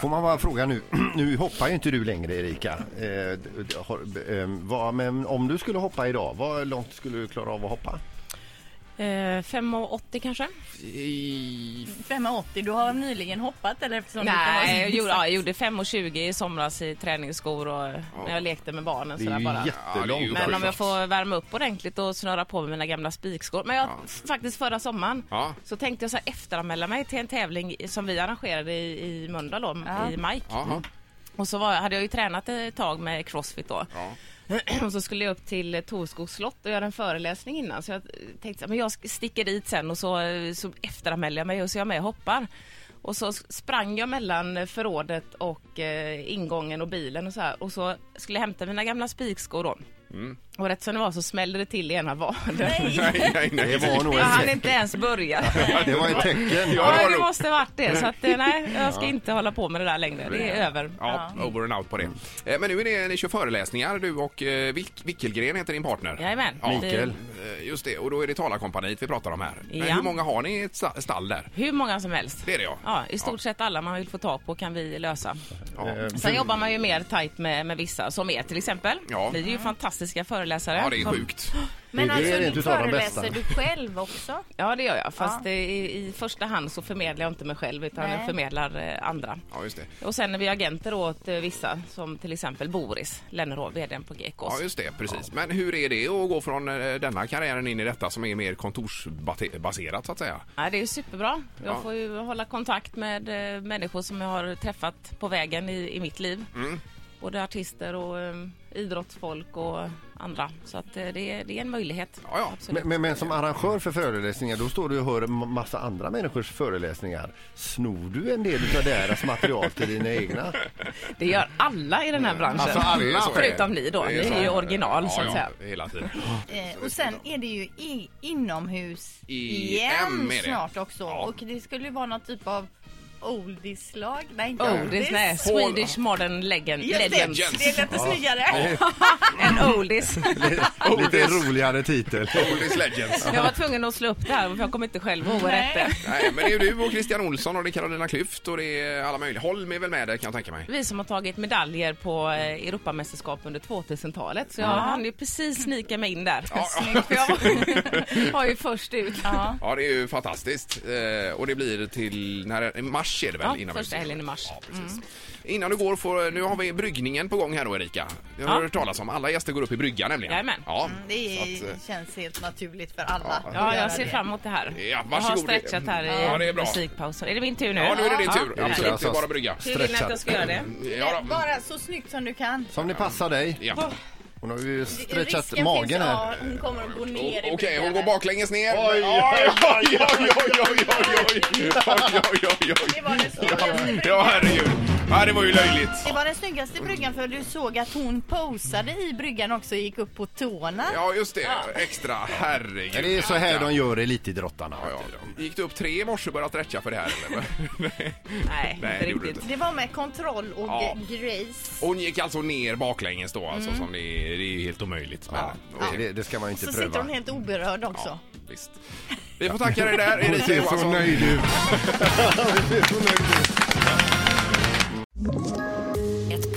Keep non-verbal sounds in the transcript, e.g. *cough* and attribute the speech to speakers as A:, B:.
A: Får man bara fråga nu, *clears throat* nu hoppar ju inte du längre Erika. Eh, d- d- har- eh, vad, men om du skulle hoppa idag, vad långt skulle du klara av att hoppa?
B: Eh, 5,80 kanske?
C: 5,80, du har nyligen hoppat eller? Eftersom du inte
B: Nej,
C: var-
B: jag gjorde, ja, jag gjorde 5,20 i somras i träningsskor och eh, när jag lekte med barnen.
A: Det är
B: Sådär
A: ju
B: bara.
D: Ja, det är
A: jättelångt.
D: ju
B: Men om
D: sjukt.
B: jag får värma upp ordentligt och snöra på mig mina gamla spikskor. Men jag, faktiskt förra sommaren
D: Ja.
B: så tänkte jag så här efteranmäla mig till en tävling i- som vi arrangerade i, i Mölndal då, i maj.
D: Jaha.
B: Och så var, hade jag ju tränat ett tag med Crossfit då. *clears throat* Och så skulle jag upp till Torskogs slott och göra en föreläsning innan. Så jag tänkte så här, men jag sticker dit sen och så, så efteranmäler jag mig och så är jag med och hoppar. Och så sprang jag mellan förrådet och eh, ingången och bilen och så här. Och så skulle jag hämta mina gamla spikskor då. Och rätt som det var så smällde det till i ena vaden.
D: Mm. Nej, nej, nej.
A: Det var nog
B: Jag hann
A: ett,
B: inte ens börja.
D: *laughs*
B: *laughs*
A: det var ett tecken.
D: Ja, det
B: Ja,
D: var
B: det
D: nog.
B: måste ha varit det. Så att, eh, nej, jag ska inte hålla på med det där längre. Det är över.
D: Ja, over and out på det. Eh, Men nu är det, ni kör föreläsningar du och eh, Vilk, Wickelgren heter din partner.
B: Jajamän.
A: Mikael.
D: Eh, Just det, och då är det Talarkompaniet vi pratar om här. Men
B: Ja.
D: hur många har ni i ett sta- stall där?
B: Hur många som helst.
D: Det är det ja.
B: Ja, i stort sett alla man vill få tag på kan vi lösa.
A: Ehm,
D: Ja.
B: Sen jobbar man ju mer tajt med, med vissa, som er till exempel.
D: Ja.
B: Vi är ju fantastiska föreläsare.
D: Ja, det är
B: Som-
D: sjukt.
C: Men
A: Det är
C: alltså,
A: rent
C: du
A: utav de
C: föreläser
A: bästa.
C: du själv också?
B: Ja, det gör jag. Fast eh, i, i första hand så förmedlar jag inte mig själv utan
C: Nej.
B: jag förmedlar eh, andra.
D: Ja, just det.
B: Och sen är vi agenter åt eh, vissa, som till exempel Boris Lennerov, vdn på Gekås.
D: Ja, just det. Precis. Men hur är det att gå från eh, denna karriären in i detta som är mer kontorsbaserat så att säga?
B: Ja, det är ju superbra. Jag
D: Ja.
B: får ju hålla kontakt med eh, människor som jag har träffat på vägen i, i mitt liv.
D: Mm.
B: Både artister och eh, idrottsfolk och andra. Så att, eh, det, är, det är en möjlighet.
D: Ja, ja.
B: Absolut.
A: Men, men, men som arrangör för föreläsningar, då står du och hör en massa andra människors föreläsningar. Snor du en del av deras material till dina egna?
B: Det gör alla i den här branschen.
A: Alltså, alla.
D: Det är så det är.
B: Förutom ni då.
D: Det
B: Ni
D: så.
B: är ju original,
D: ja,
B: så att
D: ja,
B: säga.
D: hela tiden.
C: Eh, och sen är det ju i, inomhus
D: I-
C: igen
D: M är det.
C: snart också.
D: Ja.
C: Och det skulle ju vara någon typ av oldislag. Nej, inte
B: Oldies, nej. Swedish Modern Legend.
C: Just det,
B: Legends.
C: det är lite snyggare. *laughs*
B: En
D: Mm. *laughs*
B: oldies.
A: Lite roligare titel.
D: Oldies Legends.
B: Jag var tvungen att slå upp det här för jag kommer inte själv ihåg vad det
C: Nej.
B: hette.
D: Nej, men det är ju du och Christian Olsson och det är Carolina Klüft och det är alla möjliga. Holm är väl med där kan jag tänka mig.
B: Vi som har tagit medaljer på eh, Europamästerskap under 2000-talet. Så jag hann ju precis snika mig in där.
D: Ja, ja.
B: Snyggt, för jag var ju först ut.
C: Ja.
D: Ja, det är ju fantastiskt. Eh, och det blir till när, i mars är det väl?
B: Ja,
D: innan
B: första helgen i mars. Mm.
D: Ja, precis. Innan du går får, nu har vi bryggningen på gång här då Erika. Det har
B: Ja.
D: du hört talas om. Alla gäster går upp i brygga nämligen.
B: Jajamän. Mm.
D: Ja.
C: Det är,
D: Så att, eh,
C: känns helt naturligt för alla. att
B: Ja,
C: göra
B: jag ser
C: det.
B: fram emot det här.
D: Ja,
B: jag har
D: varsågod.
B: stretchat här i
D: Ja, det är bra.
B: musikpausen. Är det min tur nu?
D: ja, nu är det din
B: Ja.
D: tur. Absolut, det är bara brygga.
B: Hur vill ni att jag ska göra det?
D: Ja, då.
C: Bara så snyggt som du kan.
A: Som det passar dig.
D: Ja.
A: Och nu har vi ju stretchat
C: Risken
A: magen
C: finns,
A: här.
C: ja, hon kommer att gå ner i
D: Okej,
C: bryggan
D: hon går
C: här.
D: baklänges ner.
A: Oj,
D: oj, oj, oj, oj, oj, oj, oj, oj, oj,
C: Det
D: oj.
C: var den snyggaste
D: Ja,
C: bryggan.
D: herregud. Ja, det var ju löjligt.
C: Det var den snyggaste bryggan för du såg att hon posade i bryggan också och gick upp på tårna.
D: Ja, just det. Extra. Herregud.
A: Ja, Det är så här de gör elitidrottarna.
D: Ja, ja. Gick du upp tre i morse och började stretcha för det här eller? Nej.
B: Nej,
D: Nej,
B: inte
D: det gjorde
B: riktigt.
C: Det var med kontroll och
D: Ja.
C: grace.
D: Hon gick alltså ner baklänges då alltså som det är, det är ju helt omöjligt. Men,
A: Det- Det, det ska man ju inte
C: Så sitter
A: pröva.
C: hon helt oberörd också.
D: visst. Vi får tacka dig där
A: Hon
D: Erika
A: ser så
D: Johansson.
A: nöjd ut. Hon ser så nöjd ut.
E: Ett